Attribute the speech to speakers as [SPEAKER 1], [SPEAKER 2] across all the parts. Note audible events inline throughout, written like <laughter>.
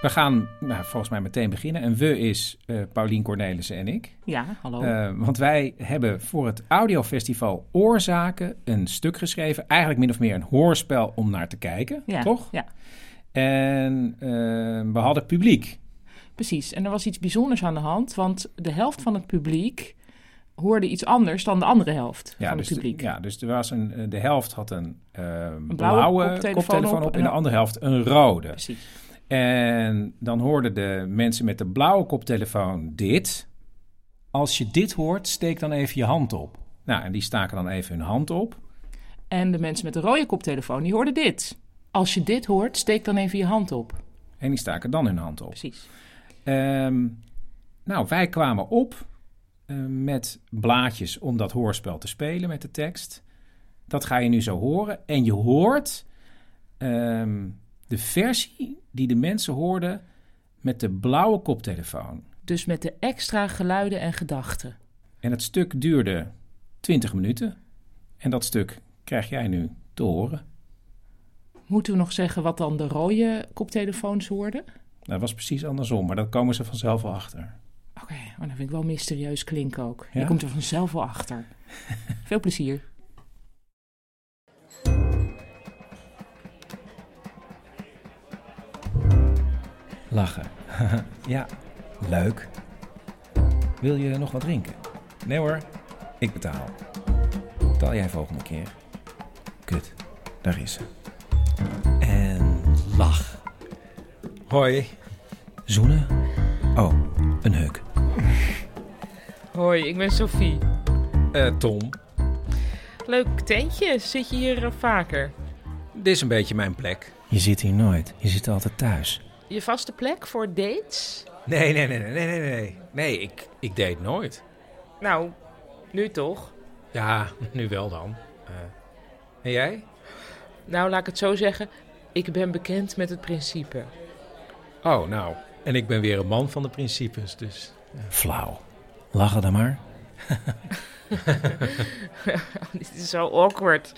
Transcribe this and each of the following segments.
[SPEAKER 1] We gaan nou, volgens mij meteen beginnen. En we is eh Paulien Cornelissen en ik.
[SPEAKER 2] Ja, hallo.
[SPEAKER 1] Eh, want wij hebben voor het audiofestival Oorzaken een stuk geschreven. Eigenlijk min of meer een hoorspel om naar te kijken,
[SPEAKER 2] ja,
[SPEAKER 1] toch?
[SPEAKER 2] Ja,
[SPEAKER 1] En eh, we hadden publiek.
[SPEAKER 2] precies. En er was iets bijzonders aan de hand, want de helft van het publiek hoorde iets anders dan de andere helft van
[SPEAKER 1] dus
[SPEAKER 2] het publiek.
[SPEAKER 1] De, ja, dus er was een, eh, de helft had een, eh, blauwe,
[SPEAKER 2] koptelefoon
[SPEAKER 1] koptelefoon
[SPEAKER 2] op
[SPEAKER 1] op,
[SPEAKER 2] en
[SPEAKER 1] en de
[SPEAKER 2] een-
[SPEAKER 1] andere helft een rode.
[SPEAKER 2] Precies.
[SPEAKER 1] En dan hoorden de mensen met de blauwe koptelefoon dit. Als je dit hoort, steek dan even je hand op. Nou, en die staken dan even hun hand op.
[SPEAKER 2] En de mensen met de rode koptelefoon, die hoorden dit. Als je dit hoort, steek dan even je hand op.
[SPEAKER 1] En die staken dan hun hand op.
[SPEAKER 2] Precies.
[SPEAKER 1] Ehm, nou, wij kwamen op eh, met blaadjes om dat hoorspel te spelen met de tekst. Dat ga je nu zo horen. En je hoort ehm, de versie die de mensen hoorden met de blauwe koptelefoon.
[SPEAKER 2] Dus met de extra geluiden en gedachten.
[SPEAKER 1] En het stuk duurde 20 minuten. En dat stuk krijg jij nu te horen.
[SPEAKER 2] Moeten we nog zeggen wat dan de rode koptelefoons hoorden?
[SPEAKER 1] Dat was precies andersom, maar daar komen ze vanzelf wel achter.
[SPEAKER 2] Oké, maar dat vind ik wel mysterieus klinken ook.
[SPEAKER 1] Ja?
[SPEAKER 2] Je komt er vanzelf wel
[SPEAKER 1] <laughs>
[SPEAKER 2] achter. Veel plezier.
[SPEAKER 1] Lachen. <laughs> ja, leuk. Wil je nog wat drinken? Nee hoor, ik betaal. Betaal jij volgende keer? Kut, daar is ze. En lach. Hoi. Zoenen? Oh, een heuk.
[SPEAKER 3] Hoi, ik ben Sophie.
[SPEAKER 1] Eh, Tom,
[SPEAKER 3] Leuk tentje, zit je hier eh, vaker?
[SPEAKER 1] dit is een beetje mijn plek. Je zit hier nooit, je zit altijd thuis.
[SPEAKER 3] Je vaste plek voor dates?
[SPEAKER 1] Nee, nee, nee, nee, nee, nee, nee. Nee, ik, ik deed nooit.
[SPEAKER 3] Nou, nu toch?
[SPEAKER 1] Ja,
[SPEAKER 4] <laughs>
[SPEAKER 1] nu wel dan.
[SPEAKER 4] Eh,
[SPEAKER 1] en jij?
[SPEAKER 3] Nou, laat ik het zo zeggen, ik ben bekend met het principe. <laughs>
[SPEAKER 1] Oh, nou. En ik ben weer een man van de principes, dus...
[SPEAKER 4] eh.
[SPEAKER 1] Flauw. Lachen dan maar.
[SPEAKER 3] Dit is zo awkward.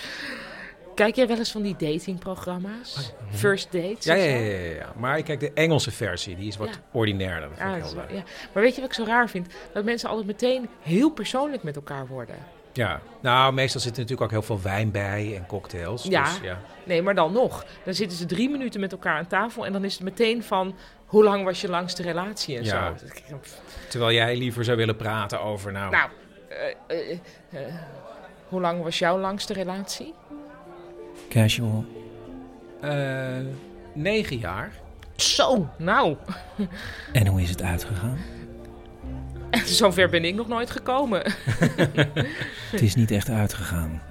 [SPEAKER 3] Kijk jij wel eens van die datingprogramma's? First dates?
[SPEAKER 4] Oh Ja,
[SPEAKER 3] of
[SPEAKER 4] ja,
[SPEAKER 3] zo?
[SPEAKER 4] ja, ja, ja. Maar ik kijk de Engelse versie. Die is wat
[SPEAKER 3] Ja.
[SPEAKER 4] ordinairder. Dat vind
[SPEAKER 3] Ah,
[SPEAKER 4] ik
[SPEAKER 3] dat is
[SPEAKER 4] heel
[SPEAKER 3] wel-
[SPEAKER 4] leuk.
[SPEAKER 3] ja. Maar weet je wat ik zo raar vind? Dat mensen altijd meteen heel persoonlijk met elkaar worden.
[SPEAKER 4] Ja. Nou, meestal zit er natuurlijk ook heel veel wijn bij en cocktails.
[SPEAKER 3] Ja.
[SPEAKER 4] Dus, ja.
[SPEAKER 3] Nee, maar dan nog. Dan zitten ze drie minuten met elkaar aan tafel en dan is het meteen van... Hoe lang was je langste relatie en
[SPEAKER 4] Ja.
[SPEAKER 3] zo?
[SPEAKER 4] Terwijl jij liever zou willen praten over, nou,
[SPEAKER 3] Nou, eh, eh, eh, hoe lang was jouw langste relatie?
[SPEAKER 1] Casual.
[SPEAKER 4] eh, negen jaar.
[SPEAKER 3] Zo, nou, <laughs>
[SPEAKER 1] En hoe is het uitgegaan?
[SPEAKER 3] zover ben ik nog nooit gekomen.
[SPEAKER 1] Het is niet echt uitgegaan.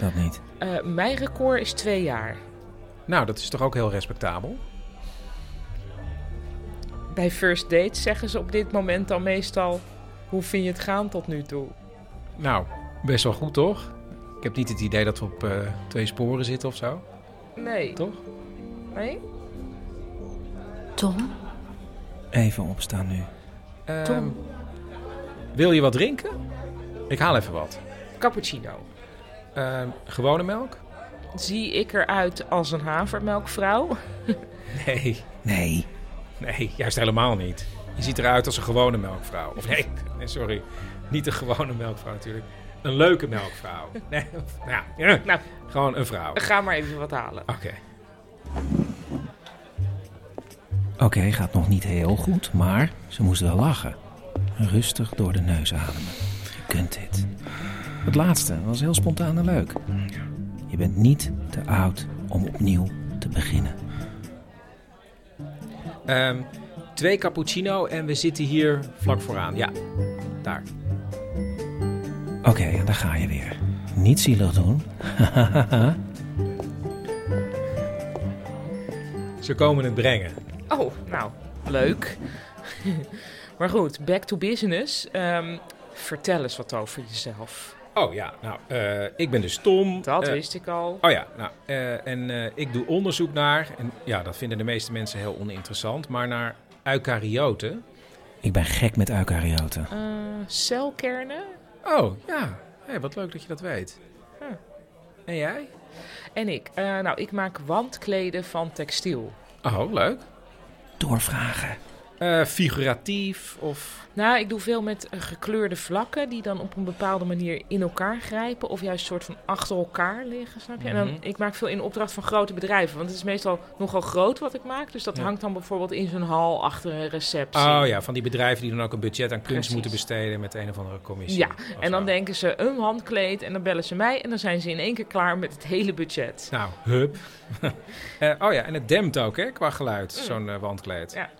[SPEAKER 1] Dat niet.
[SPEAKER 3] Eh, mijn record is twee jaar.
[SPEAKER 4] Nou, dat is toch ook heel respectabel?
[SPEAKER 3] Bij first dates zeggen ze op dit moment dan meestal... Hoe vind je het gaan tot nu toe?
[SPEAKER 4] Nou, best wel goed, toch? Ik heb niet het idee dat we op eh, twee sporen zitten of zo.
[SPEAKER 3] Nee.
[SPEAKER 4] Toch?
[SPEAKER 3] Nee?
[SPEAKER 5] Tom?
[SPEAKER 1] Even opstaan nu.
[SPEAKER 4] Ehm,
[SPEAKER 5] Tom.
[SPEAKER 4] Wil je wat drinken? Ik haal even wat.
[SPEAKER 3] Cappuccino.
[SPEAKER 4] Ehm, gewone melk?
[SPEAKER 3] Zie ik eruit als een havermelkvrouw?
[SPEAKER 4] Nee.
[SPEAKER 1] Nee.
[SPEAKER 4] Nee, juist helemaal niet. Je ziet eruit als een gewone melkvrouw. Of nee, nee, sorry. Niet een gewone melkvrouw natuurlijk. Een leuke melkvrouw. Nee, of- nou, ja,
[SPEAKER 3] Nou,
[SPEAKER 4] gewoon een vrouw. Oké.
[SPEAKER 3] ga maar even wat halen.
[SPEAKER 1] Oké, gaat nog niet heel goed, maar ze moest wel lachen. Rustig door de neus ademen. Je kunt dit. Het laatste was heel spontaan en leuk. Je bent niet te oud om opnieuw te beginnen.
[SPEAKER 4] Ehm, twee cappuccino en we zitten hier vlak vooraan. Ja, daar.
[SPEAKER 1] Oké, daar ga je weer. Niet zielig doen.
[SPEAKER 4] Ze komen het brengen.
[SPEAKER 3] Oh, nou, leuk. <laughs> maar goed, back to business. Ehm, vertel eens wat over jezelf.
[SPEAKER 4] Oh ja, nou, eh, ik ben dus Tom.
[SPEAKER 3] Dat
[SPEAKER 4] Eh,
[SPEAKER 3] wist ik al.
[SPEAKER 4] Oh ja, nou, eh, en eh, ik doe onderzoek naar, en ja, dat vinden de meeste mensen heel oninteressant, maar naar eukaryoten.
[SPEAKER 1] Ik ben gek met eukaryoten.
[SPEAKER 3] Eh, celkernen.
[SPEAKER 4] Oh ja, hey, wat leuk dat je dat weet.
[SPEAKER 3] Hm.
[SPEAKER 4] En jij?
[SPEAKER 3] En ik. Eh, nou, ik maak wandkleden van textiel.
[SPEAKER 4] Oh, leuk.
[SPEAKER 1] Doorvragen.
[SPEAKER 4] Eh, figuratief of.
[SPEAKER 3] Nou, ik doe veel met eh, gekleurde vlakken die dan op een bepaalde manier in elkaar grijpen. Of juist soort van achter elkaar liggen, snap je? En dan,
[SPEAKER 4] Mhm.
[SPEAKER 3] ik maak veel in opdracht van grote bedrijven. Want het is meestal nogal groot wat ik maak. Dus dat
[SPEAKER 4] Ja.
[SPEAKER 3] hangt dan bijvoorbeeld in zo'n hal achter een receptie.
[SPEAKER 4] Oh ja, van die bedrijven die dan ook een budget aan kunst
[SPEAKER 3] Precies.
[SPEAKER 4] moeten besteden met een of andere commissie.
[SPEAKER 3] Ja,
[SPEAKER 4] Of
[SPEAKER 3] en dan
[SPEAKER 4] zo.
[SPEAKER 3] denken ze een handkleed en dan bellen ze mij en dan zijn ze in één keer klaar met het hele budget.
[SPEAKER 4] Nou, hup. <laughs> Eh, oh ja, en het dempt ook, hè, qua geluid,
[SPEAKER 3] Mm.
[SPEAKER 4] zo'n eh, wandkleed.
[SPEAKER 3] Ja.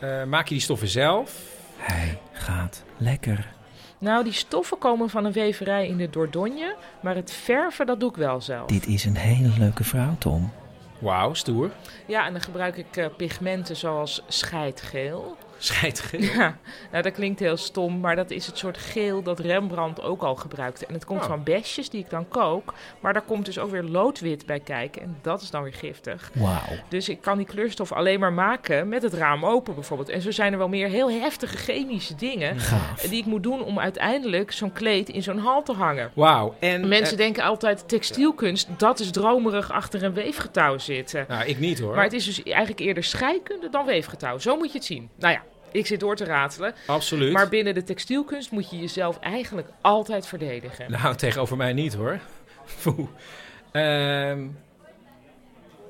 [SPEAKER 4] Eh, maak je die stoffen zelf?
[SPEAKER 1] Hij gaat lekker.
[SPEAKER 3] Nou, die stoffen komen van een weverij in de Dordogne, maar het verven dat doe ik wel zelf.
[SPEAKER 1] Dit is een hele leuke vrouw, Tom.
[SPEAKER 4] Wauw, stoer. <laughs>
[SPEAKER 3] Ja, en dan gebruik ik eh, pigmenten zoals scheidgeel.
[SPEAKER 4] Scheidgeel.
[SPEAKER 3] Ja, nou dat klinkt heel stom, maar dat is het soort geel dat Rembrandt ook al gebruikte. En het komt
[SPEAKER 4] Oh.
[SPEAKER 3] van besjes die ik dan kook, maar daar komt dus ook weer loodwit bij kijken en dat is dan weer giftig.
[SPEAKER 1] Wauw.
[SPEAKER 3] Dus ik kan die kleurstof alleen maar maken met het raam open bijvoorbeeld. En zo zijn er wel meer heel heftige chemische dingen
[SPEAKER 1] Gaaf.
[SPEAKER 3] die ik moet doen om uiteindelijk zo'n kleed in zo'n hal te hangen.
[SPEAKER 4] Wauw. En
[SPEAKER 3] Mensen
[SPEAKER 4] eh,
[SPEAKER 3] denken altijd textielkunst, dat is dromerig achter een weefgetouw zitten.
[SPEAKER 4] nou, ik niet hoor.
[SPEAKER 3] Maar het is dus eigenlijk eerder scheikunde dan weefgetouw. Zo moet je het zien. Nou ja, ik zit door te ratelen.
[SPEAKER 4] Absoluut.
[SPEAKER 3] Maar binnen de textielkunst moet je jezelf eigenlijk altijd verdedigen.
[SPEAKER 4] <laughs> Nou, tegenover mij niet hoor. <laughs>
[SPEAKER 3] Nou
[SPEAKER 4] Foe. Ehm,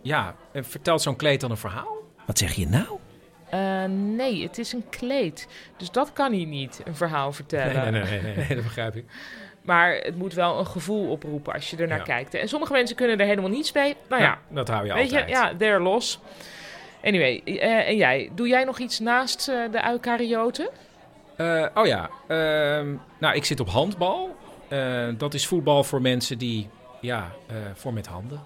[SPEAKER 4] ja, en vertelt zo'n kleed dan een verhaal?
[SPEAKER 1] Wat zeg je nou?
[SPEAKER 3] Eh, nee, het is een kleed. Dus dat kan hij niet, een verhaal vertellen.
[SPEAKER 4] Nee, nee, nee, nee, <laughs> nee, nee, dat begrijp ik.
[SPEAKER 3] Maar het moet wel een gevoel oproepen als je er naar
[SPEAKER 4] Ja.
[SPEAKER 3] kijkt. En sommige mensen kunnen er helemaal niets mee. Nou ja,
[SPEAKER 4] dat hou je
[SPEAKER 3] weet
[SPEAKER 4] altijd.
[SPEAKER 3] je, ja, they're los. Anyway, eh, en jij, doe jij nog iets naast eh, de eukaryoten?
[SPEAKER 4] Eh, oh ja, ehm, nou, ik zit op handbal. Eh, dat is voetbal voor mensen die, ja, eh, voor met handen.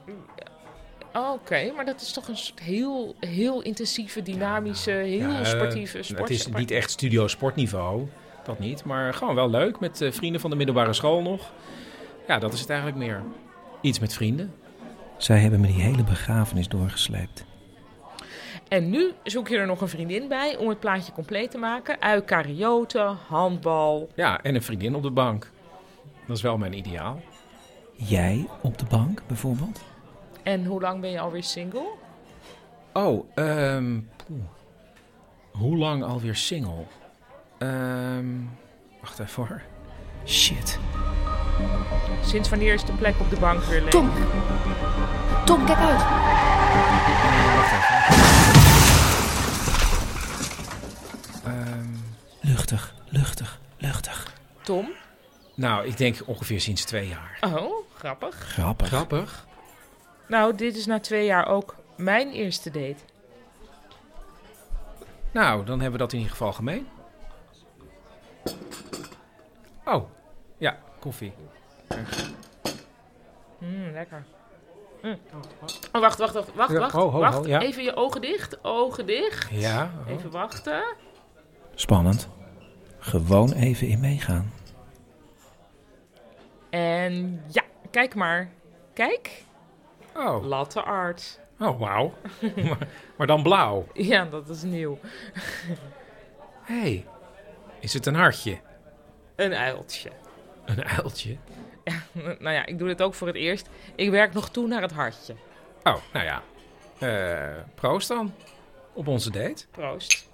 [SPEAKER 3] Oh, Oké, maar dat is toch een soort heel, heel intensieve, dynamische, heel
[SPEAKER 4] Ja, eh,
[SPEAKER 3] sportieve sport.
[SPEAKER 4] Het is
[SPEAKER 3] zeg maar.
[SPEAKER 4] niet echt studio sportniveau, dat niet. Maar gewoon wel leuk, met eh, vrienden van de middelbare school nog. Ja, dat is het eigenlijk meer. Iets met vrienden.
[SPEAKER 1] Zij hebben me die hele begrafenis doorgesleept.
[SPEAKER 3] En nu zoek je er nog een vriendin bij om het plaatje compleet te maken. Eukaryoten, handbal.
[SPEAKER 4] Ja, en een vriendin op de bank. Dat is wel mijn ideaal.
[SPEAKER 1] Jij op de bank bijvoorbeeld?
[SPEAKER 3] En hoe lang ben je alweer single?
[SPEAKER 4] Oh, ehm poeh. hoe lang alweer single? Ehm, wacht even hoor.
[SPEAKER 1] Shit.
[SPEAKER 3] Sinds wanneer is de plek op de bank weer leeg?
[SPEAKER 5] Tom. Tom, kijk uit.
[SPEAKER 4] Ehm,
[SPEAKER 1] Luchtig, luchtig, luchtig.
[SPEAKER 3] Tom?
[SPEAKER 4] nou, ik denk ongeveer sinds twee jaar.
[SPEAKER 3] Oh, grappig.
[SPEAKER 1] Grappig.
[SPEAKER 4] Grappig.
[SPEAKER 3] Nou, dit is na twee jaar ook mijn eerste date.
[SPEAKER 4] Nou, dan hebben we dat in ieder geval gemeen. Oh, ja, koffie.
[SPEAKER 3] Mm, lekker. Mm. Oh, wacht, wacht, wacht, wacht,
[SPEAKER 4] Ja,
[SPEAKER 3] wacht.
[SPEAKER 4] ho, ho, ho,
[SPEAKER 3] wacht.
[SPEAKER 4] ja.
[SPEAKER 3] Even je ogen dicht, ogen dicht.
[SPEAKER 4] Ja. oh.
[SPEAKER 3] Even wachten.
[SPEAKER 1] Spannend. Gewoon even in meegaan.
[SPEAKER 3] En ja, kijk maar. Kijk,
[SPEAKER 4] Oh,
[SPEAKER 3] latte art.
[SPEAKER 4] <laughs> oh wauw. maar, maar dan blauw.
[SPEAKER 3] Ja, dat is nieuw.
[SPEAKER 4] Hé, hey, is het een hartje?
[SPEAKER 3] Een uiltje.
[SPEAKER 4] Een uiltje?
[SPEAKER 3] Nou ja, ik doe dit ook voor het eerst. Ik werk nog toe naar het hartje.
[SPEAKER 4] Oh, nou ja. Eh, proost dan. Op onze date.
[SPEAKER 3] Proost.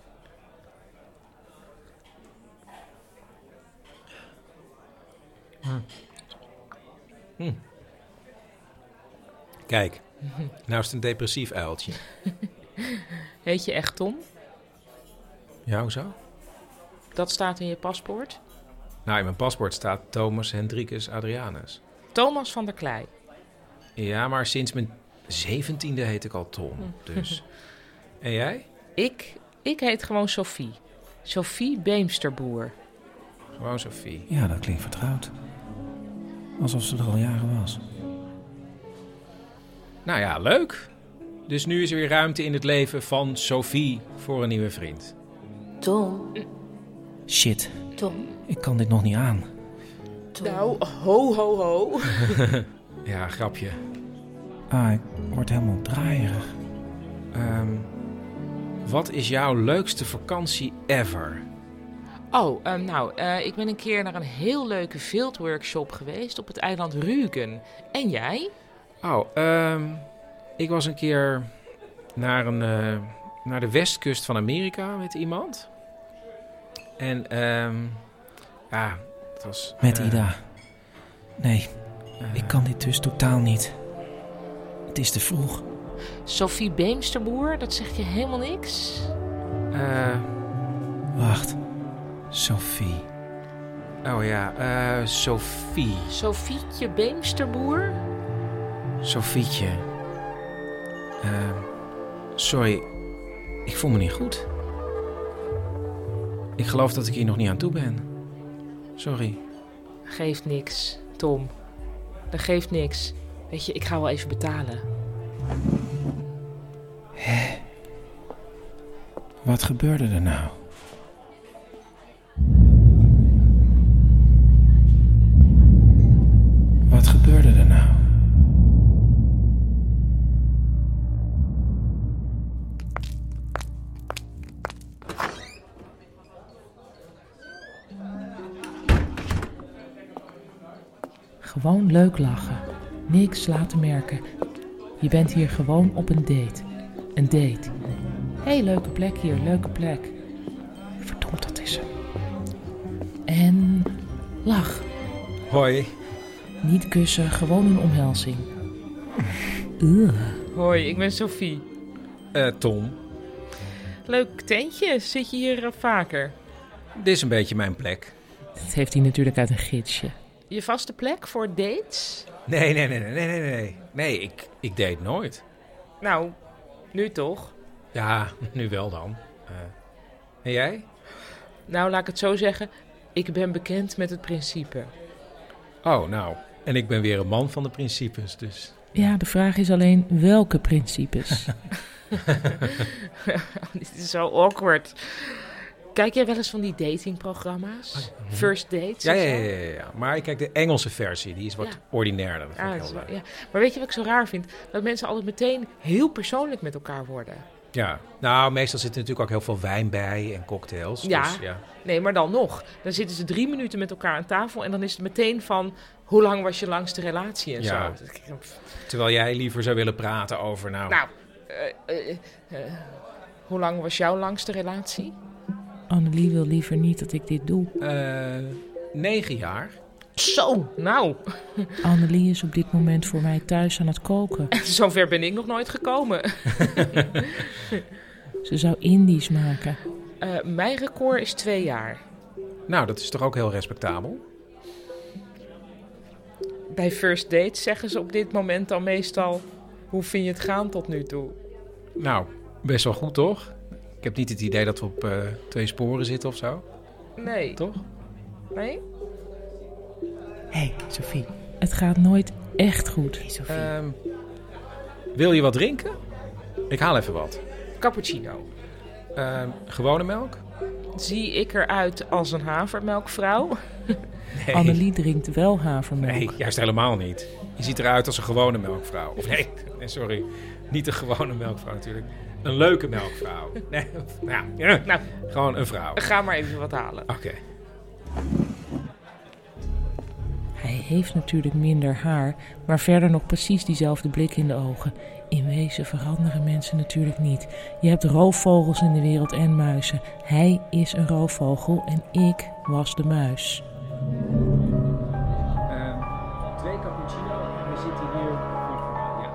[SPEAKER 4] Kijk, nou is het een depressief uiltje.
[SPEAKER 3] Heet je echt Tom?
[SPEAKER 4] Ja, hoezo?
[SPEAKER 3] Dat staat in je paspoort.
[SPEAKER 4] Nou, in mijn paspoort staat Thomas Hendrikus Adrianus.
[SPEAKER 3] Thomas van der Klei.
[SPEAKER 1] Ja, maar sinds mijn zeventiende heet ik al Tom.
[SPEAKER 4] <laughs>
[SPEAKER 1] Dus. En jij?
[SPEAKER 4] Ik, ik heet gewoon Sophie. Sophie Beemsterboer.
[SPEAKER 1] Gewoon Sophie.
[SPEAKER 6] Ja, dat klinkt vertrouwd. Alsof ze er al jaren was.
[SPEAKER 1] Nou ja, leuk. Dus nu is er weer ruimte in het leven van Sophie voor een nieuwe vriend.
[SPEAKER 7] Tom,
[SPEAKER 6] Shit,
[SPEAKER 7] Tom,
[SPEAKER 6] ik kan dit nog niet aan.
[SPEAKER 7] Tom.
[SPEAKER 4] Nou, ho, ho, ho.
[SPEAKER 1] Ja, grapje.
[SPEAKER 6] Ah, ik word helemaal draaierig.
[SPEAKER 1] Ehm, wat is jouw leukste vakantie ever?
[SPEAKER 4] Oh, ehm, nou, eh, ik ben een keer naar een heel leuke fieldworkshop geweest op het eiland Rügen. En jij?
[SPEAKER 1] Oh, ehm, ik was een keer naar, een, eh, naar de westkust van Amerika met iemand. En ehm, ja, het was...
[SPEAKER 6] Met
[SPEAKER 1] eh,
[SPEAKER 6] Ida. Nee,
[SPEAKER 1] eh,
[SPEAKER 6] ik kan dit dus totaal niet. Het is te vroeg.
[SPEAKER 4] Sophie Beemsterboer, dat zegt je helemaal niks?
[SPEAKER 1] eh,
[SPEAKER 6] Wacht. Sophie.
[SPEAKER 1] oh ja, eh, Sophie.
[SPEAKER 4] Sophietje Beemsterboer?
[SPEAKER 1] Sofietje. Ehm, sorry, ik voel me niet goed. Ik geloof dat ik hier nog niet aan toe ben. Sorry.
[SPEAKER 4] Geeft niks, Tom. Dat geeft niks. Weet je, ik ga wel even betalen.
[SPEAKER 6] Wat gebeurde er nou? Wat gebeurde er nou?
[SPEAKER 3] Gewoon leuk lachen. Niks laten merken. Je bent hier gewoon op een date. Een date. hey, leuke plek hier, leuke plek. Verdomd, dat is hem. En lach.
[SPEAKER 1] Hoi.
[SPEAKER 3] Niet kussen, gewoon een omhelzing. Ugh.
[SPEAKER 4] Hoi, ik ben Sophie.
[SPEAKER 1] Eh, Tom,
[SPEAKER 4] Leuk tentje. Zit je hier eh, vaker?
[SPEAKER 1] dit is een beetje mijn plek.
[SPEAKER 3] Dat heeft hij natuurlijk uit een gidsje.
[SPEAKER 4] Je vaste plek voor dates?
[SPEAKER 1] Nee, nee, nee, nee, nee, nee, nee. Nee, ik, ik deed nooit.
[SPEAKER 4] Nou, nu toch?
[SPEAKER 1] Ja, <laughs> nu wel dan. Eh, en jij?
[SPEAKER 4] Nou, laat ik het zo zeggen. Ik ben bekend met het principe.
[SPEAKER 1] Oh, nou. En ik ben weer een man van de principes, dus...
[SPEAKER 3] Ja, de vraag is alleen welke
[SPEAKER 1] <laughs>
[SPEAKER 3] principes.
[SPEAKER 4] <laughs> Dit is zo awkward. Kijk jij wel eens van die datingprogramma's? First dates?
[SPEAKER 1] Oh, Ja,
[SPEAKER 4] of
[SPEAKER 1] ja,
[SPEAKER 4] zo?
[SPEAKER 1] ja, ja, ja. Maar ik kijk de Engelse versie. Die is wat
[SPEAKER 4] Ja.
[SPEAKER 1] ordinairder. Dat vind
[SPEAKER 4] Ah,
[SPEAKER 1] ik
[SPEAKER 4] het is
[SPEAKER 1] heel
[SPEAKER 4] wel-
[SPEAKER 1] leuk.
[SPEAKER 4] ja. Maar weet je wat ik zo raar vind? Dat mensen altijd meteen heel persoonlijk met elkaar worden.
[SPEAKER 1] Ja, nou, meestal zit er natuurlijk ook heel veel wijn bij en cocktails.
[SPEAKER 4] Ja.
[SPEAKER 1] Dus, ja.
[SPEAKER 4] Nee, maar dan nog. Dus- Dan zitten ze drie minuten met elkaar aan tafel en dan is het meteen van... Hoe lang was je langste relatie en
[SPEAKER 1] Ja.
[SPEAKER 4] zo?
[SPEAKER 1] Terwijl jij liever zou willen praten over, nou...
[SPEAKER 4] Nou, eh, eh, eh, hoe lang was jouw langste relatie?
[SPEAKER 3] Annelie wil liever niet dat ik dit doe.
[SPEAKER 1] eh, negen jaar.
[SPEAKER 4] Zo, nou,
[SPEAKER 3] Annelie is op dit moment voor mij thuis aan het koken.
[SPEAKER 4] <laughs> zover ben ik nog nooit gekomen.
[SPEAKER 3] <laughs> Ze zou Indisch maken.
[SPEAKER 4] Eh, mijn record is twee jaar.
[SPEAKER 1] Nou, dat is toch ook heel respectabel?
[SPEAKER 4] Bij first dates zeggen ze op dit moment dan meestal... Hoe vind je het gaan tot nu toe?
[SPEAKER 1] Nou, best wel goed, toch? Ik heb niet het idee dat we op eh, twee sporen zitten of zo,
[SPEAKER 4] Nee.
[SPEAKER 1] toch?
[SPEAKER 4] Nee?
[SPEAKER 3] Hé, hey, Sophie. Het gaat nooit echt goed.
[SPEAKER 1] Ehm, wil je wat drinken? Ik haal even wat.
[SPEAKER 4] Cappuccino.
[SPEAKER 1] Ehm, gewone melk?
[SPEAKER 4] Zie ik eruit als een havermelkvrouw?
[SPEAKER 1] Nee.
[SPEAKER 3] Annelie drinkt wel havermelk.
[SPEAKER 1] Nee, juist helemaal niet. Je ziet eruit als een gewone melkvrouw. Of nee, <laughs> nee, sorry. Niet een gewone melkvrouw natuurlijk. Een leuke melkvrouw. Nee, nou, ja,
[SPEAKER 4] Nou,
[SPEAKER 1] gewoon een vrouw. Oké.
[SPEAKER 4] ga maar even wat halen.
[SPEAKER 3] Hij heeft natuurlijk minder haar, maar verder nog precies diezelfde blik in de ogen. In wezen veranderen mensen natuurlijk niet. Je hebt roofvogels in de wereld en muizen. Hij is een roofvogel en ik was de muis.
[SPEAKER 1] twee cappuccino en we zitten hier voor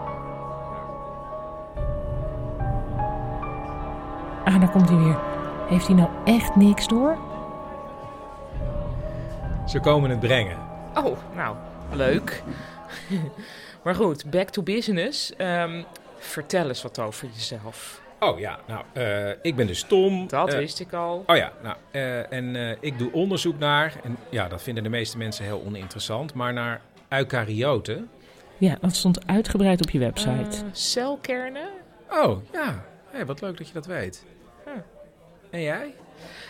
[SPEAKER 3] Ah, daar komt hij weer. Heeft hij nou echt niks door?
[SPEAKER 1] Ze komen het brengen.
[SPEAKER 4] <laughs> Oh, nou, leuk.
[SPEAKER 2] Maar goed, back to business. Ehm, vertel eens wat over jezelf.
[SPEAKER 1] Oh ja, nou, eh, ik ben dus Tom.
[SPEAKER 2] Dat
[SPEAKER 1] Eh,
[SPEAKER 2] wist ik al.
[SPEAKER 1] Oh ja, nou, eh, en eh, ik doe onderzoek naar, en ja, dat vinden de meeste mensen heel oninteressant, maar naar eukaryoten.
[SPEAKER 3] Ja, dat stond uitgebreid op je website.
[SPEAKER 2] Eh, celkernen.
[SPEAKER 1] Oh ja, Hé, wat leuk dat je dat weet.
[SPEAKER 2] Ja.
[SPEAKER 1] En jij?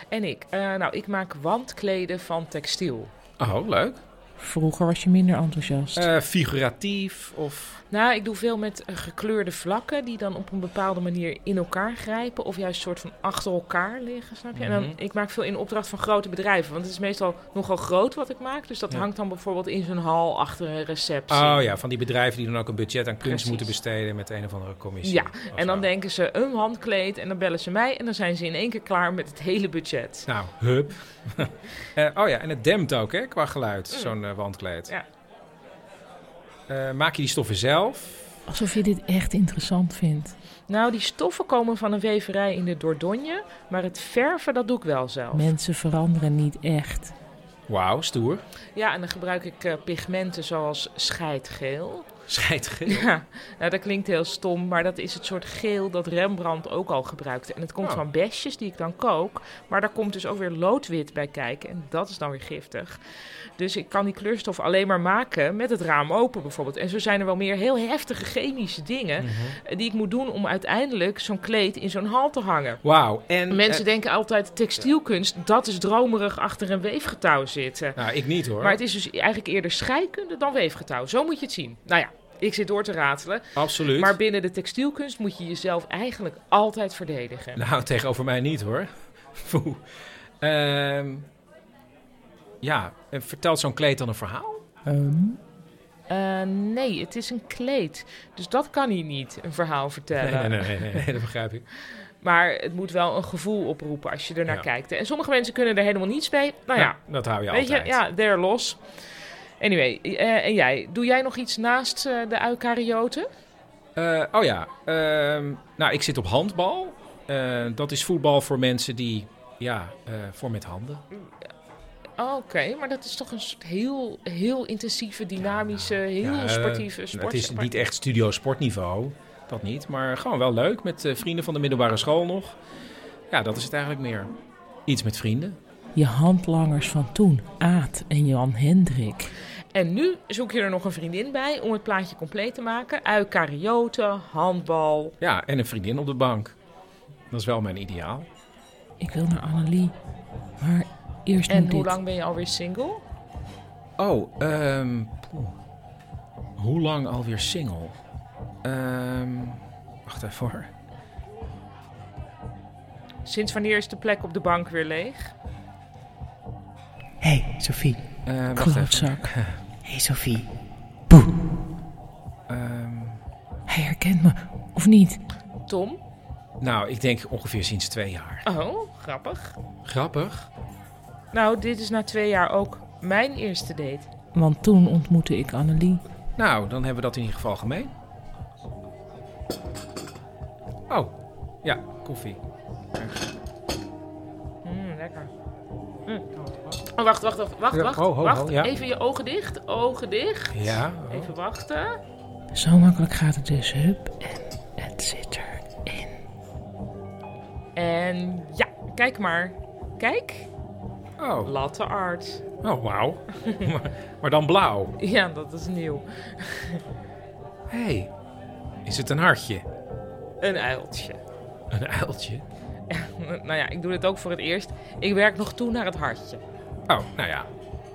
[SPEAKER 2] En ik. Eh, nou, ik maak wandkleden van textiel.
[SPEAKER 1] Oh, leuk.
[SPEAKER 3] Vroeger was je minder enthousiast.
[SPEAKER 1] Eh, figuratief of.
[SPEAKER 2] Nou, ik doe veel met eh, gekleurde vlakken die dan op een bepaalde manier in elkaar grijpen. Of juist soort van achter elkaar liggen, snap je? En dan,
[SPEAKER 1] Mhm.
[SPEAKER 2] ik maak veel in opdracht van grote bedrijven. Want het is meestal nogal groot wat ik maak. Dus dat
[SPEAKER 1] Ja.
[SPEAKER 2] hangt dan bijvoorbeeld in zo'n hal achter een receptie.
[SPEAKER 1] Oh ja, van die bedrijven die dan ook een budget aan kunst
[SPEAKER 2] Precies.
[SPEAKER 1] moeten besteden met een of andere commissie.
[SPEAKER 2] Ja,
[SPEAKER 1] of
[SPEAKER 2] En dan
[SPEAKER 1] zo.
[SPEAKER 2] denken ze een handkleed en dan bellen ze mij. En dan zijn ze in één keer klaar met het hele budget.
[SPEAKER 1] Nou, hup. <laughs> Eh, oh ja, en het dempt ook, hè, qua geluid,
[SPEAKER 2] Mm.
[SPEAKER 1] zo'n eh, wandkleed.
[SPEAKER 2] Ja.
[SPEAKER 1] Eh, maak je die stoffen zelf?
[SPEAKER 3] Alsof je dit echt interessant vindt.
[SPEAKER 2] Nou, die stoffen komen van een weverij in de Dordogne. Maar het verven, dat doe ik wel zelf.
[SPEAKER 3] Mensen veranderen niet echt.
[SPEAKER 1] Wauw, stoer.
[SPEAKER 2] Ja, en dan gebruik ik eh, pigmenten zoals scheidgeel.
[SPEAKER 1] Scheidgeel.
[SPEAKER 2] Ja, nou, dat klinkt heel stom, maar dat is het soort geel dat Rembrandt ook al gebruikte. En het komt
[SPEAKER 1] Oh.
[SPEAKER 2] van besjes die ik dan kook, maar daar komt dus ook weer loodwit bij kijken. En dat is dan weer giftig. Dus ik kan die kleurstof alleen maar maken met het raam open bijvoorbeeld. En zo zijn er wel meer heel heftige chemische dingen
[SPEAKER 1] Mhm.
[SPEAKER 2] eh, die ik moet doen om uiteindelijk zo'n kleed in zo'n hal te hangen.
[SPEAKER 1] Wauw. En
[SPEAKER 2] Mensen
[SPEAKER 1] eh,
[SPEAKER 2] denken altijd textielkunst, dat is dromerig achter een weefgetouw zitten.
[SPEAKER 1] nou, ik niet hoor.
[SPEAKER 2] Maar het is dus eigenlijk eerder scheikunde dan weefgetouw. Zo moet je het zien. Nou ja, ik zit door te ratelen.
[SPEAKER 1] Absoluut.
[SPEAKER 2] Maar binnen de textielkunst moet je jezelf eigenlijk altijd verdedigen.
[SPEAKER 1] Nou, tegenover mij niet hoor. <laughs> Foe. Ehm, ja, en vertelt zo'n kleed dan een verhaal?
[SPEAKER 3] Ehm,
[SPEAKER 2] Eh, nee, het is een kleed. Dus dat kan hij niet, een verhaal vertellen.
[SPEAKER 1] nee, nee, <laughs> nee, nee, dat begrijp ik.
[SPEAKER 2] Maar het moet wel een gevoel oproepen als je ernaar
[SPEAKER 1] Ja.
[SPEAKER 2] kijkt. En sommige mensen kunnen er helemaal niets mee. Nou ja,
[SPEAKER 1] dat hou je
[SPEAKER 2] weet
[SPEAKER 1] altijd.
[SPEAKER 2] je, ja, they're los. Anyway, eh, en jij, doe jij nog iets naast eh, de eukaryoten?
[SPEAKER 1] Eh, oh ja, ehm, nou, ik zit op handbal. Eh, dat is voetbal voor mensen die, ja, eh, voor met handen.
[SPEAKER 2] Ah, Oké, maar dat is toch een soort heel, heel intensieve, dynamische, heel
[SPEAKER 1] Ja, eh,
[SPEAKER 2] sportieve sport.
[SPEAKER 1] Nou, het is niet echt studio sportniveau, dat niet. Maar gewoon wel leuk, met eh, vrienden van de middelbare school nog. Ja, dat is het eigenlijk meer. Iets met vrienden.
[SPEAKER 3] je handlangers van toen, Aad en Jan Hendrik.
[SPEAKER 2] En nu zoek je er nog een vriendin bij om het plaatje compleet te maken. Eukaryoten, handbal.
[SPEAKER 1] Ja, en een vriendin op de bank. Dat is wel mijn ideaal.
[SPEAKER 3] Ik wil naar Annelie. Maar eerst
[SPEAKER 2] En
[SPEAKER 3] moet
[SPEAKER 2] hoe
[SPEAKER 3] dit.
[SPEAKER 2] lang ben je alweer single?
[SPEAKER 1] Oh, ehm poeh. hoe lang alweer single? Ehm wacht even hoor.
[SPEAKER 2] Sinds wanneer is de plek op de bank weer leeg?
[SPEAKER 8] Hé, hey, Sophie.
[SPEAKER 1] Eh, wacht even. <laughs>
[SPEAKER 3] Klootzak.
[SPEAKER 8] Hé, hey, Sophie.
[SPEAKER 1] Ehm,
[SPEAKER 3] Hij herkent me, of niet?
[SPEAKER 2] Tom?
[SPEAKER 1] nou, ik denk ongeveer sinds twee jaar.
[SPEAKER 2] Oh, grappig.
[SPEAKER 1] Grappig.
[SPEAKER 2] Nou, dit is na twee jaar ook mijn eerste date.
[SPEAKER 3] Want toen ontmoette ik Annelie.
[SPEAKER 1] Nou, dan hebben we dat in ieder geval gemeen. Oh, ja, koffie.
[SPEAKER 2] Mm, lekker. Mm. Oh, wacht, wacht, wacht, wacht,
[SPEAKER 1] Ja,
[SPEAKER 2] wacht.
[SPEAKER 1] ho, ho,
[SPEAKER 2] wacht.
[SPEAKER 1] ho, ja.
[SPEAKER 2] Even je ogen dicht, ogen dicht.
[SPEAKER 1] Ja.
[SPEAKER 2] Even wachten.
[SPEAKER 3] Zo makkelijk gaat het dus. Hup, en het zit erin.
[SPEAKER 2] En ja, kijk maar. Kijk,
[SPEAKER 1] Oh,
[SPEAKER 2] latte art.
[SPEAKER 1] oh wauw. <laughs> maar, maar dan blauw.
[SPEAKER 2] Ja, dat is nieuw.
[SPEAKER 1] Hé, hey, is het een hartje?
[SPEAKER 2] Een uiltje.
[SPEAKER 1] Een uiltje?
[SPEAKER 2] Nou ja, ik doe dit ook voor het eerst. Ik werk nog toe naar het hartje.
[SPEAKER 1] Oh, nou ja.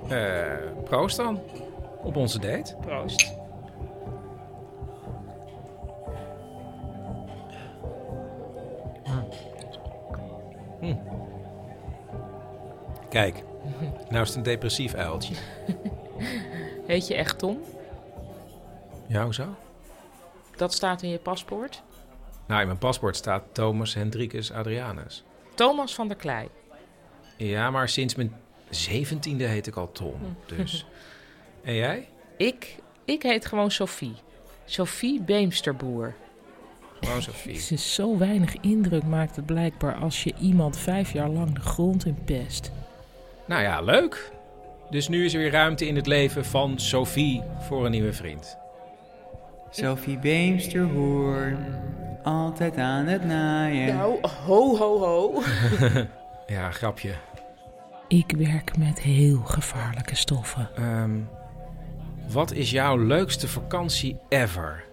[SPEAKER 1] Eh, proost dan. Op onze date.
[SPEAKER 2] Proost.
[SPEAKER 1] Hm. Kijk, nou is het een depressief uiltje.
[SPEAKER 2] <laughs> Heet je echt Tom?
[SPEAKER 1] Ja, hoezo?
[SPEAKER 2] Dat staat in je paspoort.
[SPEAKER 1] Nou, in mijn paspoort staat Thomas Hendrikus Adrianus.
[SPEAKER 2] Thomas van der Klei.
[SPEAKER 1] Ja, maar sinds mijn zeventiende heet ik al Tom,
[SPEAKER 2] Hm.
[SPEAKER 1] dus... en jij?
[SPEAKER 2] Ik, ik heet gewoon Sophie. Sophie Beemsterboer.
[SPEAKER 1] Gewoon Sophie.
[SPEAKER 3] Jezus, zo weinig indruk maakt het blijkbaar als je iemand vijf jaar lang de grond in pest.
[SPEAKER 1] Nou ja, leuk. Dus nu is er weer ruimte in het leven van Sophie voor een nieuwe vriend.
[SPEAKER 9] Sophie Beemsterhoorn, altijd aan het naaien.
[SPEAKER 3] Nou, ho, ho, ho.
[SPEAKER 4] ja, grapje.
[SPEAKER 2] Ik werk met heel gevaarlijke stoffen.
[SPEAKER 4] Ehm, wat is jouw leukste vakantie ever?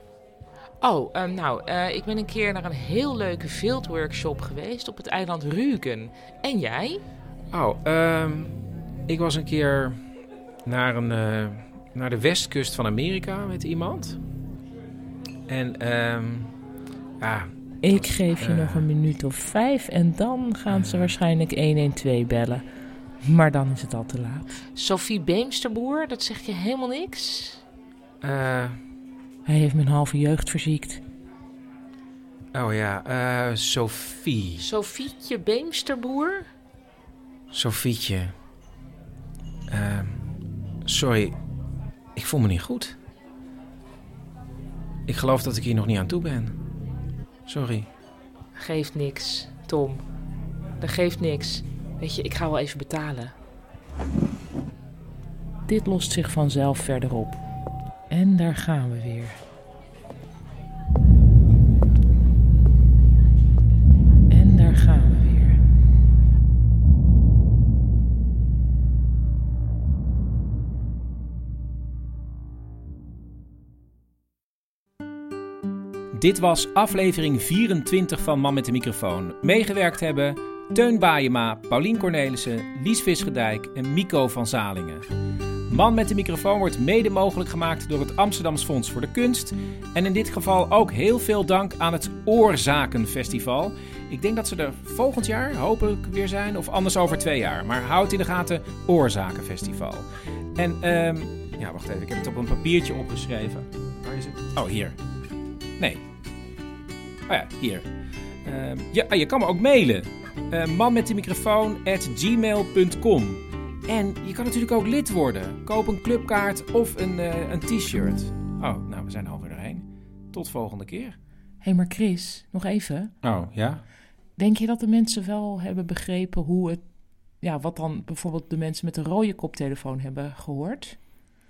[SPEAKER 3] Oh, ehm, nou, eh, ik ben een keer naar een heel leuke fieldworkshop geweest op het eiland Rügen. En jij?
[SPEAKER 4] Oh, ehm, ik was een keer naar, een, eh, naar de westkust van Amerika met iemand. En ehm ja,
[SPEAKER 2] Ik geef je
[SPEAKER 4] eh,
[SPEAKER 2] nog een minuut of vijf en dan gaan ze waarschijnlijk 112 bellen. Maar dan is het al te laat.
[SPEAKER 3] Sophie Beemsterboer, dat zeg je helemaal niks?
[SPEAKER 4] eh,
[SPEAKER 2] Hij heeft mijn halve jeugd verziekt.
[SPEAKER 4] oh ja, eh, Sophie.
[SPEAKER 3] Sofietje Beemsterboer?
[SPEAKER 4] Sofietje. Ehm, sorry, ik voel me niet goed. Ik geloof dat ik hier nog niet aan toe ben. Sorry.
[SPEAKER 3] Geeft niks, Tom. Dat geeft niks. Weet je, ik ga wel even betalen.
[SPEAKER 2] Dit lost zich vanzelf verder op. En daar gaan we weer. En daar gaan we weer.
[SPEAKER 1] Dit was aflevering 24 van Man met de microfoon. Meegewerkt hebben Teun Baayema, Paulien Cornelissen, Lies Visgedijk en Mico van Zalingen. Man met de microfoon wordt mede mogelijk gemaakt door het Amsterdams Fonds voor de Kunst. En in dit geval ook heel veel dank aan het Oorzakenfestival. Ik denk dat ze er volgend jaar hopelijk weer zijn of anders over twee jaar. Maar houd in de gaten Oorzakenfestival. En ehm, ja, wacht even, ik heb het op een papiertje opgeschreven. Waar is het? Oh, hier. Nee. Oh ja, hier. Ehm, ja, ah, je kan me ook mailen. Eh man met de microfoon at gmail.com. En je kan natuurlijk ook lid worden. Koop een clubkaart of een, eh, een t-shirt. Oh, nou, we zijn er alweer doorheen. Tot volgende keer.
[SPEAKER 2] Hé, maar Chris, nog even.
[SPEAKER 1] Oh, ja?
[SPEAKER 2] Denk je dat de mensen wel hebben begrepen hoe het... Ja, wat dan bijvoorbeeld de mensen met de rode koptelefoon hebben gehoord?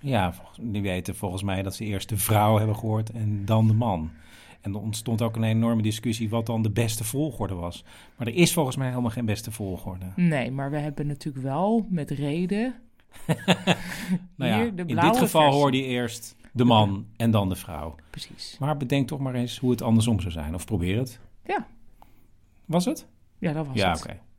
[SPEAKER 1] Ja, volgens- die weten volgens mij dat ze eerst de vrouw hebben gehoord en dan de man. En er ontstond ook een enorme discussie wat dan de beste volgorde was. Maar er is volgens mij helemaal geen beste volgorde.
[SPEAKER 2] Nee, maar we hebben natuurlijk wel met reden...
[SPEAKER 1] <laughs> Nou ja,
[SPEAKER 2] Hier, de
[SPEAKER 1] in dit
[SPEAKER 2] blauwe
[SPEAKER 1] geval
[SPEAKER 2] versie.
[SPEAKER 1] hoorde je eerst de man en dan de vrouw.
[SPEAKER 2] Precies.
[SPEAKER 1] Maar bedenk toch maar eens hoe het andersom zou zijn. Of probeer het.
[SPEAKER 2] Ja.
[SPEAKER 1] Was het?
[SPEAKER 2] Ja, dat was
[SPEAKER 1] ja,
[SPEAKER 2] het.
[SPEAKER 1] oké.